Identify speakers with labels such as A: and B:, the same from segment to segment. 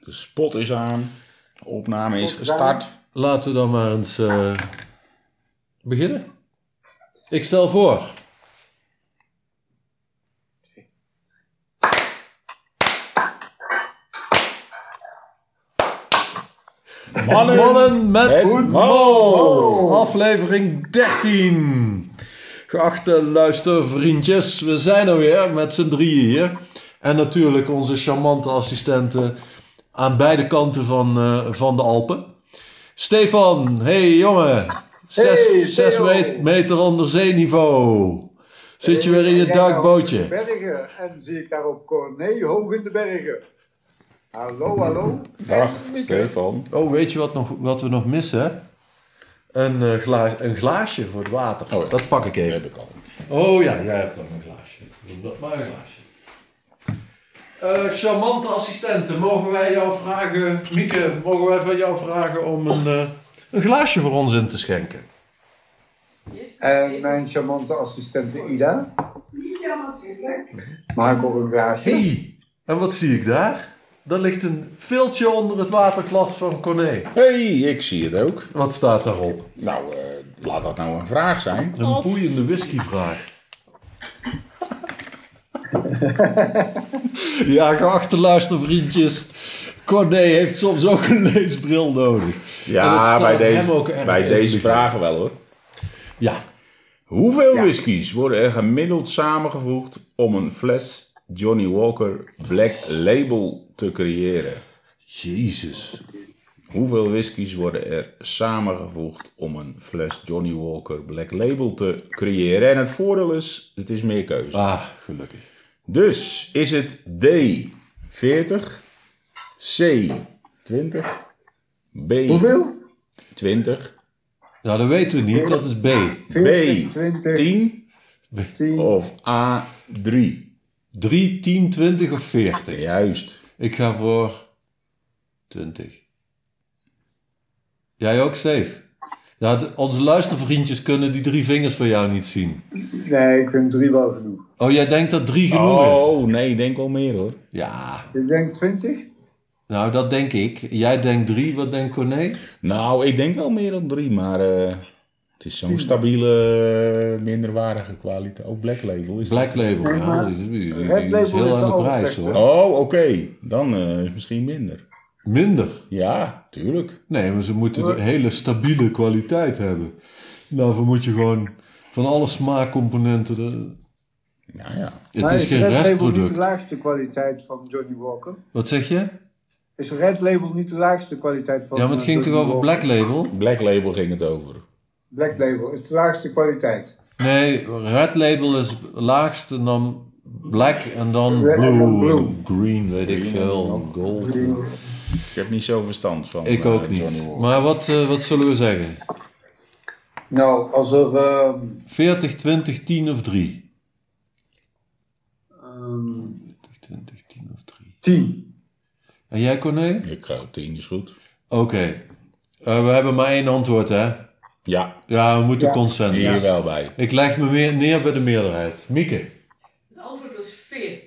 A: De spot is aan. De opname is
B: Spot is aan.
A: gestart.
C: Laten we dan maar eens eh, beginnen. Ik stel voor.
A: Mannen,
C: Mannen met
A: met
C: voetbal.
A: voetbal.
C: Aflevering 13. Geachte luistervriendjes, we zijn er weer met z'n drieën hier. En natuurlijk onze charmante assistenten aan beide kanten van, eh, van de Alpen. Stefan, hey jongen. Zes,
B: Hey,
C: zes
B: Theo.
C: me- meter onder zeeniveau. Zit je
B: Hey,
C: weer in je
B: kijk nou, de
C: dakbootje?
B: Bergen. En zie ik daar op Corné Hoog in de Bergen. Hallo, hallo.
A: Dag,
B: En-
A: Stefan.
C: Oh, weet je wat, nog, wat we nog missen? hè? Een, eh, glaas, een glaasje voor het water.
A: Oh ja.
C: Dat pak ik even.
A: Heb ik al.
C: Oh ja, jij hebt dan een glaasje. Noem dat maar een glaasje. Eh, charmante assistenten, mogen wij jou vragen, Mieke, mogen wij van jou vragen om een, eh, een glaasje voor ons in te schenken?
B: En mijn charmante assistente Ida.
D: Ja, natuurlijk.
B: Mag ik ook een glaasje?
C: hey, en wat zie ik daar? Daar ligt een viltje onder het waterglas van Corné.
A: hey, ik zie het ook.
C: Wat staat daarop?
A: Nou, eh, laat dat nou een vraag zijn.
C: Een boeiende whiskyvraag. ja, geachte luistervriendjes. Corné heeft soms ook een leesbril nodig. En het
A: Ja,
C: staat
A: bij
C: hem ook
A: deze,
C: erg
A: bij
C: in
A: deze
C: de
A: vragen wel hoor.
C: Ja,
A: Hoeveel
B: Ja.
A: whiskies worden er gemiddeld samengevoegd om een fles Johnny Walker Black Label te creëren?
C: jezus.
A: Hoeveel whiskies worden er samengevoegd om een fles Johnny Walker Black Label te creëren? En het voordeel is, het is meer keuze.
C: Ah, gelukkig.
A: Dus is het D 40, C 20, B
B: Hoeveel?
A: 20,
C: Nou, dat weten we niet. Dat is B.
B: 40, 20,
A: 10
B: 10.
A: of A 3?
C: 3, 10, 20 of 40.
A: Juist.
C: Ik ga voor 20. Jij ook, Steve? Ja, de- onze luistervriendjes kunnen die drie vingers van jou niet zien.
B: Nee, ik vind drie wel genoeg.
C: Oh, jij denkt dat drie genoeg is?
A: Oh nee, ik denk wel meer hoor.
C: Ja,
B: Ik denk 20.
C: nou dat denk ik. Jij denkt drie, wat denkt Corné?
A: Nou, ik denk wel meer dan 3, maar eh, het is zo'n stabiele, eh, minderwaardige kwaliteit. Ook Black Label is
C: Black Label,
B: Nee,
C: ja.
B: maar
C: Die is, die is- die
B: Red
C: is
B: Label is
C: heel aan
B: de
C: de prijs
B: allerslechtste.
C: hoor.
A: Oh, oké. Dan eh, is misschien minder.
C: Minder.
A: Ja, tuurlijk.
C: Nee, maar ze moeten de hele stabiele kwaliteit hebben. Daarvoor moet je gewoon van alle smaakcomponenten... De...
A: Ja, ja.
C: Het
B: Maar
C: is geen
B: Red Label niet
C: restproduct.
B: de laagste kwaliteit van Johnny Walker?
C: Wat zeg je?
B: Is Red Label niet de laagste kwaliteit van
C: Ja, maar het
B: eh,
C: ging
B: Johnny
C: toch over
B: Walker?
C: Black Label?
A: Black Label ging het over.
B: Black Label is de laagste kwaliteit.
C: Nee, Red Label is laagst en dan Black en dan
B: Red en
C: Blue.
B: dan blue.
C: en Green, weet ik
A: Green en
C: veel.
A: dan
C: Gold.
A: Ik heb niet zoveel verstand van.
C: Ik
A: eh,
C: ook
A: Johnny
C: niet.
A: Walker.
C: Maar wat, eh, wat zullen we zeggen?
B: Nou, als er... ehm,
C: 40, 20, 10 of 3?
B: ehm,
C: 40, 20, 10 of 3.
B: 10.
C: En jij, Corné?
A: Ik ga op 10 is goed.
C: Oké. Eh, we hebben maar één antwoord, hè?
A: Ja,
C: Ja, we moeten
B: Ja.
C: consensus.
A: hier wel bij.
C: Ik leg me meer neer bij de meerderheid. Mieke.
D: Het dus antwoord was 40.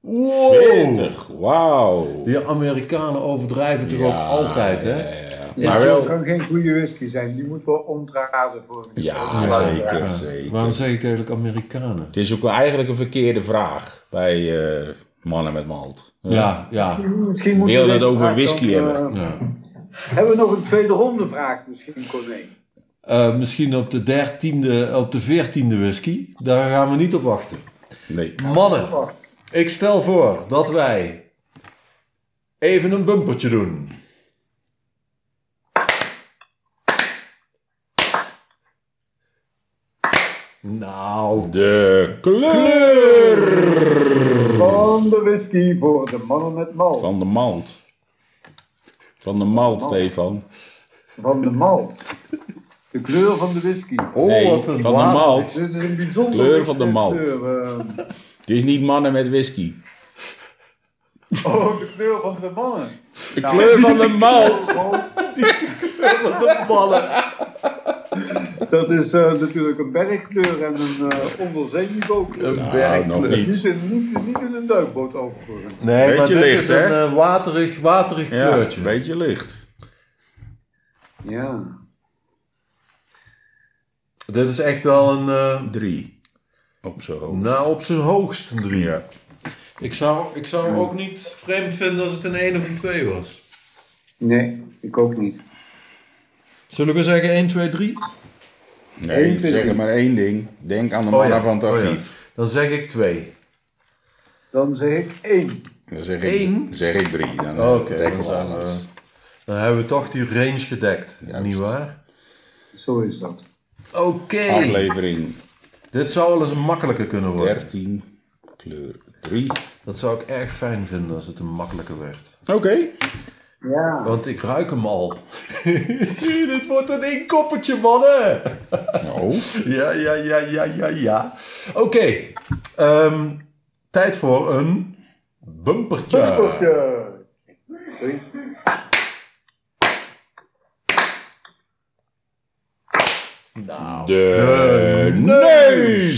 C: Wow.
A: 40, wauw.
C: Die Amerikanen overdrijven toch ook altijd, hè?
A: ja, ja.
B: Maar
A: Maar wel...
B: kan geen goede whisky zijn. Die moet wel ontraden voor een
A: Ja,
B: Ja.
A: zeker,
C: Ja.
A: zeker.
C: Waarom zeg ik eigenlijk Amerikanen?
A: Het is ook wel eigenlijk een verkeerde vraag bij eh, mannen met malt.
C: Ja, ja.
B: Misschien moeten
A: Wil je het
B: deze
A: over
B: vraag
A: whisky
B: dan, eh,
A: hebben?
C: ja.
B: hebben we nog een tweede ronde vraag misschien, Corné?
C: Eh, misschien op de dertiende, op de veertiende whisky. Daar gaan we niet op wachten.
A: Nee.
C: Mannen, ik stel voor dat wij even een bumpertje doen. Nou,
A: De kleur
B: Van de whisky voor de mannen met malt. Van,
A: van de malt. Van de malt, Stefan.
B: de malt. De kleur van de whisky.
C: oh
A: Nee,
C: wat
A: van
C: een
A: de
C: water.
A: malt.
B: Dit is een bijzonder
A: Kleur
B: lichte
A: van de malt.
B: kleur, eh.
A: Het is niet mannen met whisky.
B: oh, de kleur van de mannen.
A: De
C: Nou,
A: kleur van de malt.
B: Oh,
C: Wat een ballen.
B: Dat is eh, natuurlijk een bergkleur en een eh onderzeeniveaukleur.
A: Nou,
C: bergkleur.
A: nog
B: Niet
A: niet.
B: in, niet, niet in een duikboot overigens.
C: Nee,
A: Beetje
C: maar dit
A: licht,
C: is
A: hè?
C: een eh, waterig, waterig
A: Ja,
C: kleurtje.
A: een beetje licht.
B: Ja.
C: Dit is echt wel een... eh,
A: Drie. Op zo hoog.
C: nou, op zijn hoogst een drie.
A: Ja.
C: Ik zou, ik zou hem ook niet vreemd vinden als het een 1 of een 2 was.
B: Nee, ik ook niet.
C: Zullen we zeggen 1, 2, 3?
A: Nee,
B: Eén, twee,
A: zeg
B: drie.
A: maar één ding. Denk
C: Oh
A: aan de mannen van het archief.
C: Dan zeg ik 2.
B: Dan zeg ik één.
A: Dan zeg ik,
C: Eén? Oh,
A: zeg ik drie. Dan eh,
C: Oké,
A: dekken
C: dan,
A: we
C: zijn
A: alles.
C: we, dan hebben we toch die range gedekt,
A: Juist.
C: nietwaar?
B: Zo is dat.
C: Oké.
A: Aflevering
C: Dit zou wel eens een makkelijke kunnen worden.
A: 13, kleur 3.
C: Dat zou ik erg fijn vinden als het een makkelijke werd.
A: Oké.
B: Ja.
C: Want ik ruik hem al. Dit wordt een inkoppertje, mannen!
A: Nou,
C: Ja, ja, ja, ja, ja, ja. Oké. ehm, tijd voor een bumpertje.
B: Bumpertje. Oei.
C: Nou,
A: de
C: De
A: neus.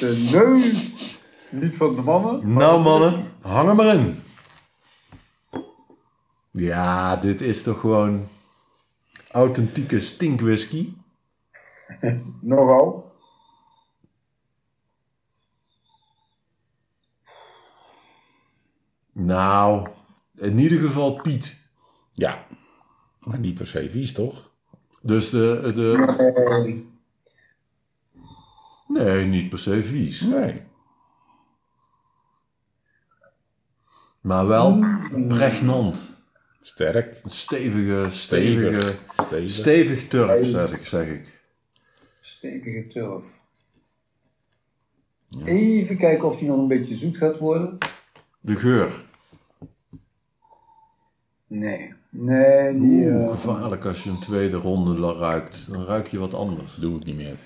B: De neus. Niet van de mannen.
C: Nou mannen, hang er maar in. Ja, dit is toch gewoon authentieke stinkwhisky.
B: Nogal.
C: Nou, in ieder geval Piet.
A: Ja, maar niet per se vies, toch?
C: Dus de, de...
B: Eh,
C: Nee, niet per se vies.
A: Nee.
C: Maar wel pregnant.
A: Sterk.
C: Een stevige, stevige...
A: Stevig. Stevig.
C: Stevig turf, zeg ik. Zeg ik.
B: Stevige turf. Even kijken of die nog een beetje zoet gaat worden.
C: De geur.
B: Nee. Nee, die...
C: Oeh,
B: eh,
C: gevaarlijk als je een tweede ronde la- ruikt. Dan ruik je wat anders.
A: Doe ik niet meer.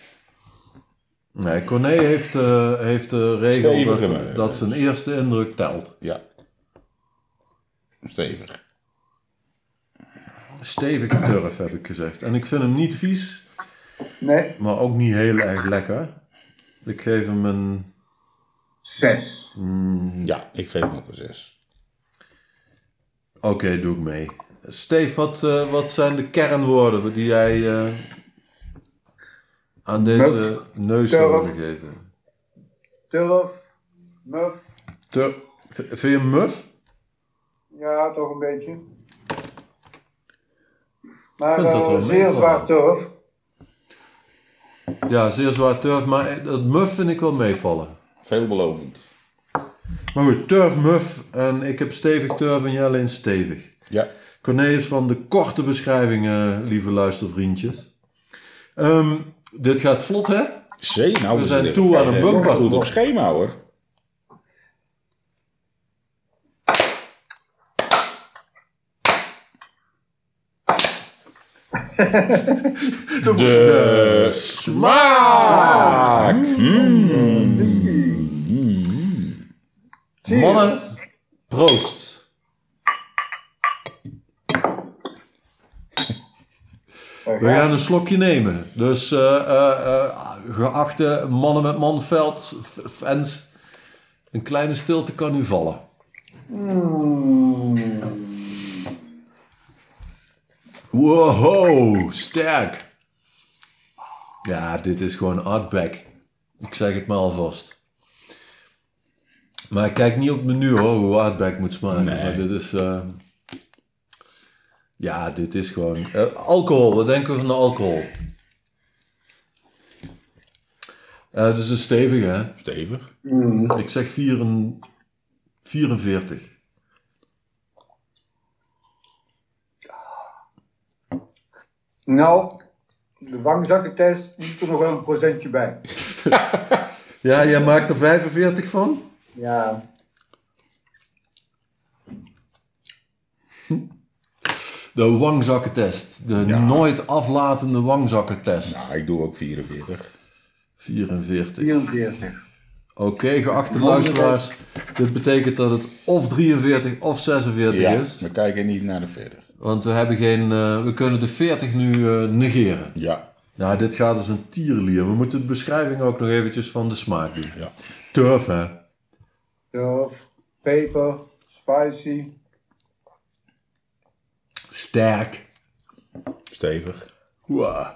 C: Nee, Corné heeft, eh, heeft de regel
A: Stevige
C: dat,
A: meubels.
C: dat zijn eerste indruk telt.
A: Ja. Stevig.
C: Stevige turf, heb ik gezegd. En ik vind hem niet vies,
B: nee.
C: maar ook niet heel erg lekker. Ik geef hem een...
B: Zes.
C: mm,
A: Ja, ik geef hem ook een 6.
C: Oké, doe ik mee. Steef, wat, eh, wat zijn de kernwoorden die jij eh, aan deze neus hebt
B: Turf.
C: gegeven?
B: Turf. Muf.
C: Tur v- vind je hem muf?
B: Ja, toch een beetje. Maar
C: Ik vind dat
B: eh,
C: wel
B: zeer
C: meevallen.
B: zwaar turf.
C: Ja, zeer zwaar turf, maar eh, dat muf vind ik wel meevallen.
A: Veelbelovend.
C: Maar goed, turf, muf en ik heb stevig turf en jij alleen stevig.
A: Ja.
C: Cornelis van de korte beschrijvingen, eh, lieve luistervriendjes. Ehm, dit gaat vlot, hè?
A: Zee, nou,
C: We zijn
A: zitten
C: toe aan een bumper.
A: Goed op schema, hoor. De smaak! Mm.
B: Whisky.
A: Mm.
B: Cheers.
C: Mannen, proost.
B: Daar
C: We
B: gaat-
C: gaan een slokje nemen. Dus eh, eh, eh, geachte mannen met manveld, f- fans, een kleine stilte kan nu vallen. Wow, sterk. Ja, dit is gewoon Outback. Ik zeg het maar alvast. Maar ik kijk niet op het menu hoor, hoe Outback moet smaken.
A: Nee.
C: Maar dit is... eh, Ja, dit is gewoon... eh, alcohol, wat denken we van de alcohol? Eh, het is een stevige, hè?
A: Stevig.
B: Mm.
C: Ik zeg 44. 44.
B: Nou, de wangzakkentest moet er nog wel een procentje bij.
C: Ja, jij maakt er 45 van?
B: Ja.
C: De wangzakkentest. De
A: Ja.
C: nooit aflatende wangzakkentest.
A: Nou, ik doe ook 44.
C: 44.
B: 44.
C: Oké, geachte luisteraars. Dit betekent dat het of 43 of 46
A: Ja,
C: is.
A: we kijken niet naar de 40.
C: Want we, hebben geen, eh, we kunnen de 40 nu eh, negeren.
A: Ja,
C: Nou, dit gaat als een tierlier. We moeten de beschrijving ook nog eventjes van de smaak doen.
A: Ja.
C: Turf, hè?
B: Turf, peper, spicy,
C: Sterk.
A: Stevig.
C: Wow.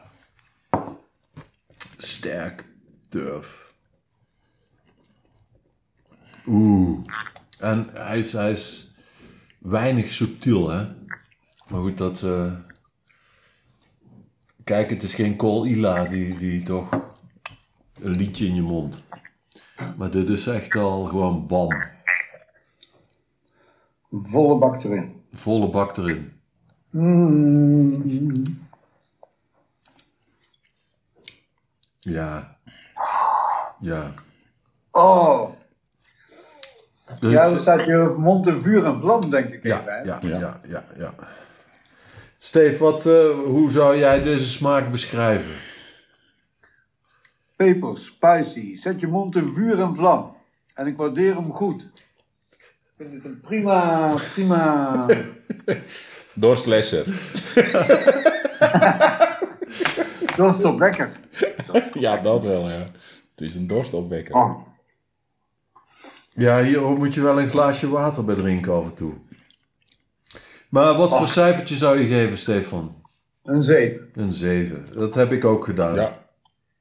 C: Sterk durf. Oeh. En hij is, hij is weinig subtiel, hè? Maar goed, dat. eh, Kijk, het is geen Col Ila die, die toch een liedje in je mond. Maar dit is echt al gewoon bam.
B: volle bak erin.
C: Volle bak erin. Hmm.
B: Mm.
C: Ja. Ja.
B: Oh,
C: Dus-
B: ja, dan staat je mond in vuur en vlam, denk ik. even, hè?
C: Ja, ja,
A: Ja.
C: ja, ja, ja. Steef, wat, eh, hoe zou jij deze smaak beschrijven?
B: Peper, spicy. Zet je mond in vuur en vlam. En ik waardeer hem goed. Ik vind het een prima, prima.
A: Dorstlesser.
B: Dat is toch lekker.
A: ja, dat wel, ja. Het is een dorstopwekker.
B: Oh,
C: Ja, hier moet je wel een glaasje water bij drinken af en toe. Maar wat voor cijfertje zou je geven, Stefan?
B: een zeep.
C: Een 7. Dat heb ik ook gedaan.
A: Ja,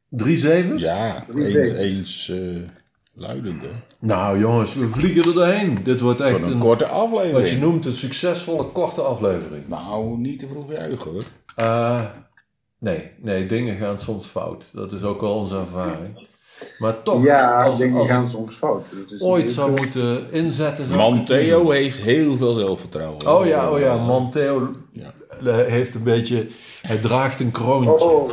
C: Drie zevens?
A: ja
B: Drie
A: eens,
B: zevens.
A: eens eh, luidende.
C: Nou jongens, we vliegen er doorheen. Dit wordt echt
A: Van
C: een,
A: een korte
C: wat je
A: aflevering.
C: noemt een succesvolle korte aflevering.
A: Nou, niet te vroeg juichen hoor.
C: Eh, nee, nee, dingen gaan soms fout. Dat is ook al onze ervaring. Maar toch,
B: Ja,
C: als,
B: dingen
C: als
B: gaan soms fout. Dat is
C: ooit
B: niet-
C: zou moeten inzetten. zou ik het
A: Manteo heeft heel veel zelfvertrouwen.
C: Oh ja, oh ja, Manteo
A: Ja.
C: heeft een beetje, hij draagt een kroontje.
B: Oh,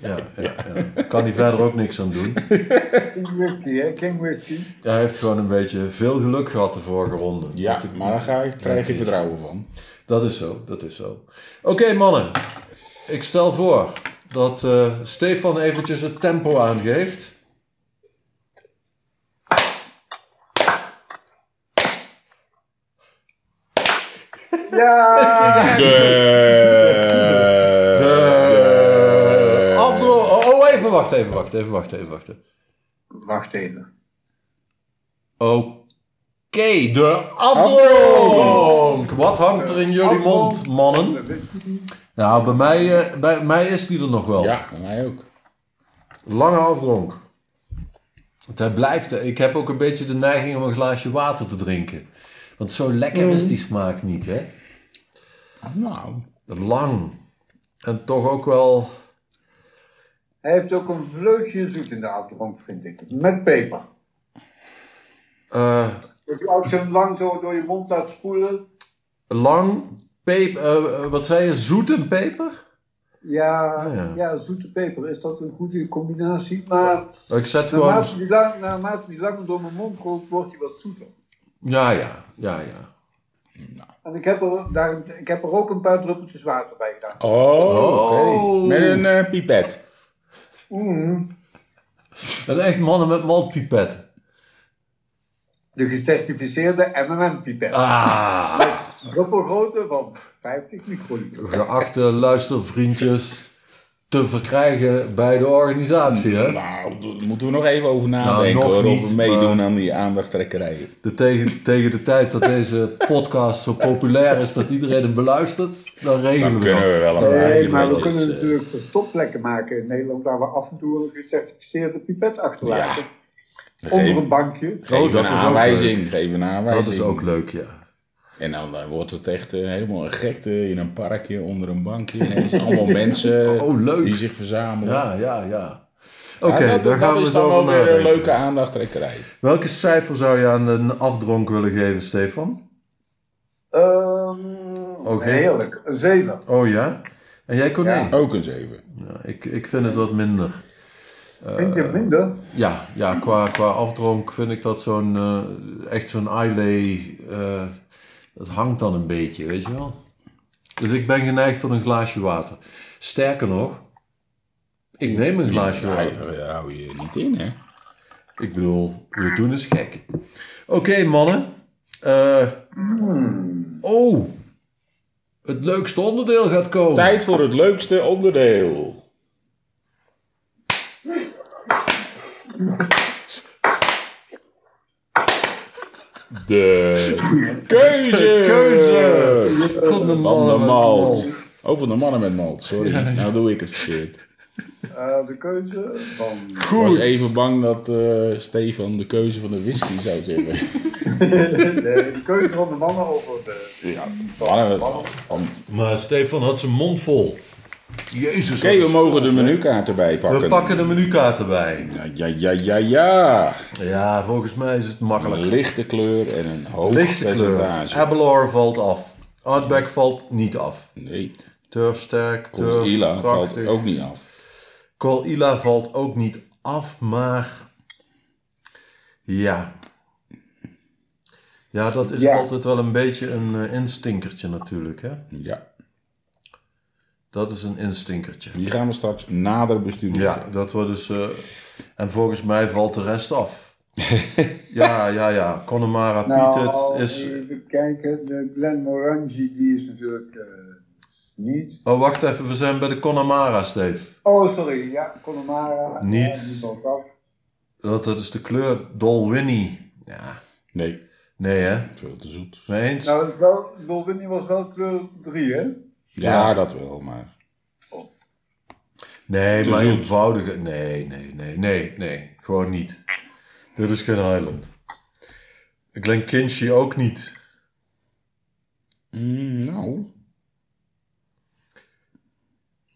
C: Ja, ja, ja. Kan hij verder ook niks aan doen.
B: King Whisky, hè? King Whisky.
C: Hij heeft gewoon een beetje veel geluk gehad de vorige ronde.
A: Ja, maar daar ga ik, krijg je vertrouwen van.
C: Dat is zo, dat is zo. Oké mannen, ik stel voor dat eh, Stefan eventjes het tempo aangeeft.
B: Ja!
A: De... Eh,
C: De... Afdro- oh, oh, even wachten, even wachten, even wachten, even wachten.
B: Wacht even.
C: Oké, de afdronk.
A: Afdronk.
C: Wat hangt er in jullie mond, mannen? Nou, bij mij, eh, bij mij is die er nog wel.
A: Ja, bij mij ook.
C: Lange afdronk. Want hij blijft er. Ik heb ook een beetje de neiging om een glaasje water te drinken. Want zo lekker is die smaak niet, hè?
A: Nou,
C: Lang. En toch ook wel...
B: Hij heeft ook een vleugje zoet in de afdronk, vind ik. Met peper.
C: eh,
B: Dus als je hem lang zo door je mond laat spoelen.
C: lang, peper... eh, eh, wat zei je? Zoet en peper?
B: Ja,
C: Ah, ja.
B: ja. zoete peper. Is dat een goede combinatie? Maar
C: Ik zet gewoon...
B: naarmate die, lang, naarmate die langer door mijn mond rolt, wordt hij wat zoeter.
C: Ja, ja, ja, ja.
B: En ik heb, er, daar, ik heb er ook een paar druppeltjes water bij gedaan.
A: Oh, oké.
C: Oh.
A: Met een eh, pipet.
B: Mm.
C: Een echt mannen met maltpipet.
B: De gecertificeerde MM-pipet.
C: Ah!
B: Druppelgrootte van 50 microliter.
C: Geachte luistervriendjes, te verkrijgen bij de organisatie, hè?
A: Nou, daar moeten we nog even over nadenken
C: Nou, nog
A: hoor,
C: niet,
A: of we meedoen
C: maar- Oh,
A: aan die aandachttrekkerijen.
C: De tegen, tegen de tijd dat deze podcast zo populair is dat iedereen hem beluistert, dan regelen
A: Dan
C: we
A: kunnen
C: dat.
A: we wel een paar
B: Nee,
A: hier
B: maar we
A: netjes,
B: kunnen
A: eh,
B: natuurlijk verstopplekken maken in Nederland waar we af en toe een gecertificeerde pipet achterlaten. Onder
A: Geef,
B: een bankje.
A: geef
C: Oh,
A: een
C: dat is ook
A: aanwijzing. Geef een aanwijzing.
C: Dat is ook leuk, ja.
A: En dan eh, wordt het echt eh, helemaal een gekte in een parkje onder een bankje. Ineens allemaal mensen
C: Oh, leuk.
A: die zich verzamelen.
C: Ja, ja, ja. Oké,
A: Ja, dat,
C: daar
A: dat
C: gaan we
A: is dan
C: zo
A: wel
C: over
A: weer een
C: nadenken.
A: leuke aandachttrekkerij.
C: Welke cijfer zou je aan een afdronk willen geven, Stefan?
B: Ehm,
C: Oké.
B: Heerlijk. Een 7.
C: Oh ja? En jij, Corné?
B: Ja.
A: Ook een 7.
C: Nou, ik, ik vind het wat minder. Eh.
B: Vind je minder?
C: Ja, ja qua, qua afdronk vind ik dat zo'n, eh, echt zo'n eyelay, eh, dat hangt dan een beetje, weet je wel. Dus ik ben geneigd tot een glaasje water. Sterker nog, ik neem een glaasje
A: Ja,
C: water.
A: daar hou je niet in, hè?
C: Ik bedoel, we doen eens gek. Oké, mannen. Eh, oh, het leukste onderdeel gaat komen.
A: Tijd voor het leukste onderdeel. De keuze,
C: Keuze!
A: van
C: Van de
A: de
C: mannen met
A: malt.
C: malt.
A: Oh, van de mannen met malt, sorry. Nou doe ik het verkeerd.
B: Eh, de keuze van...
A: Ik was
C: Goed.
A: even bang dat eh, Stefan de keuze van de whisky zou zeggen.
B: Nee, de keuze van de mannen over de... Nou,
A: Ja,
B: van de
A: mannen-
B: mannen.
A: eh, van-
C: Maar Stefan had zijn mond vol. Jezus.
A: Oké, we mogen de menukaart erbij pakken.
C: We pakken de menukaart erbij.
A: Ja, ja, ja, ja, ja.
C: Ja, volgens mij is het
A: Een
C: makkelijk.
A: lichte kleur en een hoog
C: Lichte kleur.
A: percentage.
C: Abelor valt af. Outback valt niet af.
A: Nee,
C: Turfsterk, turf,
A: Cornelia valt
C: krachtig.
A: ook niet af.
C: Corilla valt ook niet af, maar... Ja. Ja, dat is
B: Ja.
C: altijd wel een beetje een eh, instinkertje natuurlijk, hè?
A: Ja,
C: Dat is een instinkertje.
A: die gaan we straks nader bestuderen.
C: Ja, dat wordt dus... eh, en volgens mij valt de rest af. ja, ja, ja. Connemara
B: Nou,
C: Pietet is...
B: even kijken. De Glen Morangi, die is natuurlijk eh, niet.
C: Oh, wacht even. We zijn bij de Connemara, Steve.
B: Oh, sorry. Ja, Connemara.
C: Niet.
B: Ja, die valt af.
C: Dat, dat is de kleur Dolwinnie. Ja.
A: Nee,
C: Nee, hè?
A: veel te zoet.
C: Mee eens?
B: Nou, dat is wel, Dolwini was wel kleur 3, hè?
A: Ja,
C: Ja.
A: dat wel, maar...
C: nee,
A: te
C: maar
A: zoet.
C: eenvoudige... Nee, nee, nee, nee, nee. Gewoon niet. Dit is geen Highland. Glenkinchie ook niet.
A: Mm, nou,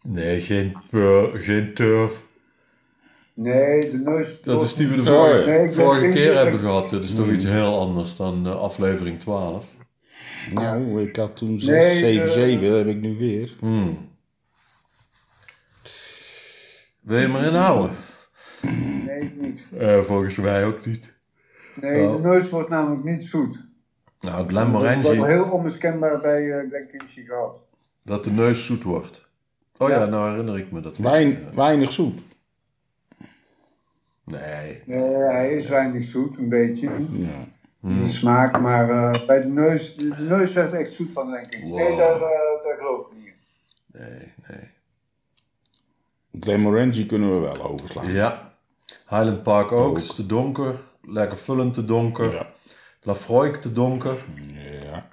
C: Nee, geen, pur- geen turf.
B: Nee, de neus.
C: Dat is die we de
A: Oh, ja.
C: vorige,
B: Nee,
C: vorige
B: Glenkinchie-
C: keer hebben gehad. Dit is toch iets heel anders dan eh, aflevering 12.
A: nou, ik had toen 6,
B: Nee,
A: 7,
C: eh,
B: de-
A: 7, dat heb ik nu weer.
C: Hmm. Wil je maar inhouden?
B: Nee, niet.
C: Eh, volgens mij ook niet.
B: Nee,
C: Oh.
B: de neus wordt namelijk niet zoet.
C: Nou,
B: Dat wordt
C: Glenmorangie,
B: heel onmiskenbaar bij eh Glen Kinchy gehad.
C: dat de neus zoet wordt. Oh ja,
B: Ja.
C: nou herinner ik me dat. weer.
A: Wein, weinig zoet.
C: Nee.
B: Nee, hij is weinig zoet, een beetje.
C: Hmm.
A: Ja.
B: De smaak, maar eh, bij de neus, de neus werd echt zoet van Glen Kinchy. Nee,
C: Wow.
B: daar, eh, daar geloof ik niet in.
C: Nee, nee.
A: Glenmorangie kunnen we wel overslaan.
C: Ja. Highland Park ook,
A: Ook.
C: is te donker. Lekker Vullend te donker.
A: Ja.
C: Lafroik te donker.
A: Ja.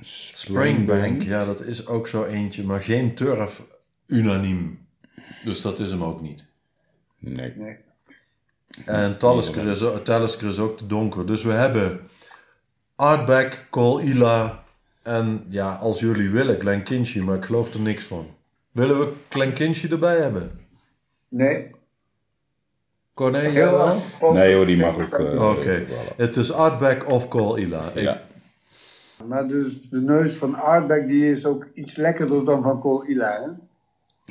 C: Springbank, ja, dat is ook zo eentje. Maar geen turf unaniem. Dus dat is hem ook niet.
A: Nee.
B: Nee.
C: En Talisker is, o- Talisker is ook te donker. Dus we hebben Artback, Col Ila en ja, als jullie willen, Glenkinchie, maar ik geloof er niks van. Willen we Glenkinchie erbij hebben?
B: Nee,
C: Corné, jij
B: heel
C: wel?
B: afgesproken.
A: Nee hoor, die mag ook. eh,
C: Oké,
A: vallen.
C: het is Artback of Col Ila. Ik-
A: Ja.
B: Maar dus de neus van Aardbeck die is ook iets lekkerder dan van Col Ila, hè?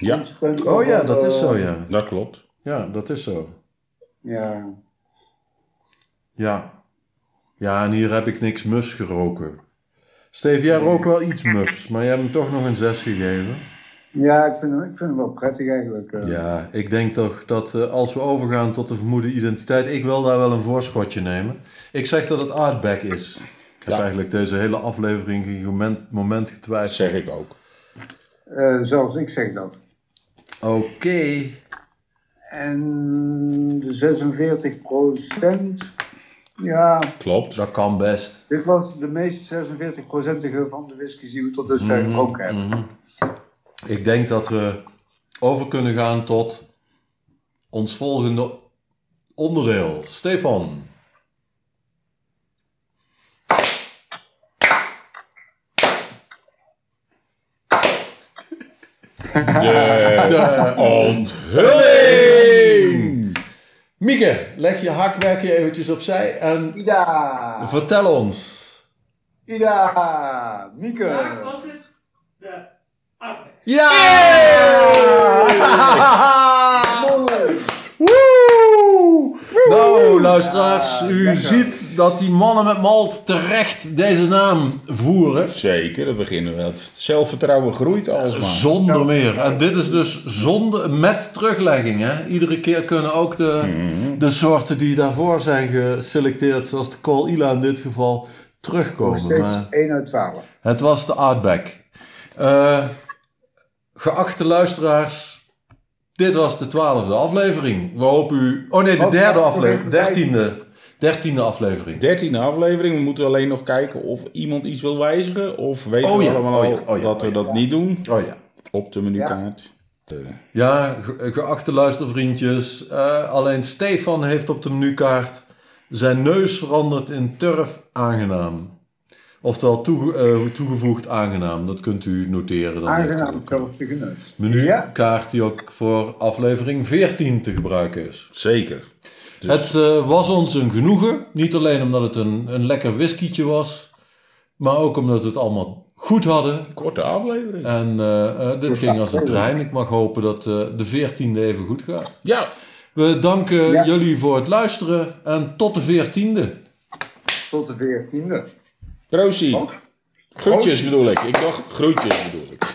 A: ja,
B: Consequent
C: Oh ja,
B: van,
C: dat is
B: eh,
C: zo, ja.
A: dat klopt.
C: Ja, dat is zo.
B: Ja,
C: Ja. Ja, en hier heb ik niks mufs geroken. Steve, jij rookt wel iets mufs, maar je hebt hem toch nog een 6 gegeven.
B: ja ik, vind hem, ik vind hem wel prettig eigenlijk. eh.
C: Ja, ik denk toch dat eh, als we overgaan tot de vermoede identiteit, ik wil daar wel een voorschotje nemen. Ik zeg dat het Artback is. Ik heb
A: Ja.
C: eigenlijk deze hele aflevering geen moment, moment
A: Dat
C: getwijfeld.
A: zeg ik ook.
B: Eh, zelfs ik zeg dat.
C: Oké.
B: En de 46 Ja,
A: Klopt.
C: Dat kan best.
B: dit was de meest 46 procentige van de whiskies die we tot dusver gedronken hebben.
C: Mhm. Ik denk dat we over kunnen gaan tot ons volgende onderdeel. Stefan.
A: Ah. De onthulling!
C: Mieke, leg je hakwerkje eventjes opzij en
B: Ida!
C: vertel ons.
B: Ida! Mieke!
D: Daar was het de arbeid.
C: Ja!
B: Mooi.
C: Woe! Nou, luisteraars,
B: Ja,
C: u
B: lekker.
C: ziet dat die mannen met malt terecht deze naam voeren.
A: Zeker, dan beginnen we. Het zelfvertrouwen groeit alsmaar.
C: Zonder meer. En dit is dus zonder, met teruglegging. Hè? Iedere keer kunnen ook de,
B: Hmm.
A: Mhm.
C: de soorten die daarvoor zijn geselecteerd, zoals de Col Ila in dit geval,
B: Nog
C: terugkomen. Maar-
B: steeds 1 uit 12.
C: Het was de Outback. Eh, geachte luisteraars, Dit was de twaalfde aflevering. We hopen u... Oh nee, de
B: Oh,
C: derde
B: ja,
C: aflevering.
B: even
C: Dertiende. Dertiende aflevering.
A: Dertiende aflevering. We moeten alleen nog kijken of iemand iets wil wijzigen. Of weten
C: Oh ja,
A: we allemaal
C: oh ja,
A: al
C: oh ja, oh
A: dat we
C: ja.
A: dat niet doen
C: Oh ja.
A: op de menukaart. Eh,
C: Ja, ge- geachte luistervriendjes. eh, alleen Stefan heeft op de menukaart zijn neus veranderd in turf aangenaam. Oftewel toege- eh, toegevoegd aangenaam. Dat kunt u noteren. Dan heeft u
B: Aangenaam
C: ook-
B: zelftige neus. Ja.
C: menukaart die ook voor aflevering 14 te gebruiken is.
A: zeker. Dus-
C: Het eh, was ons een genoegen. Niet alleen omdat het een, een lekker whiskietje was, maar ook omdat we het allemaal goed hadden.
A: Korte aflevering.
C: En eh, eh, dit ging als een trein. Ik mag hopen dat eh, de 14e even goed gaat.
A: Ja,
C: We danken
B: Ja.
C: jullie voor het luisteren en tot de 14e.
B: Tot de veertiende.
A: Proosie.
B: Wat?
A: Groetjes bedoel ik. Ik dacht groetjes bedoel ik.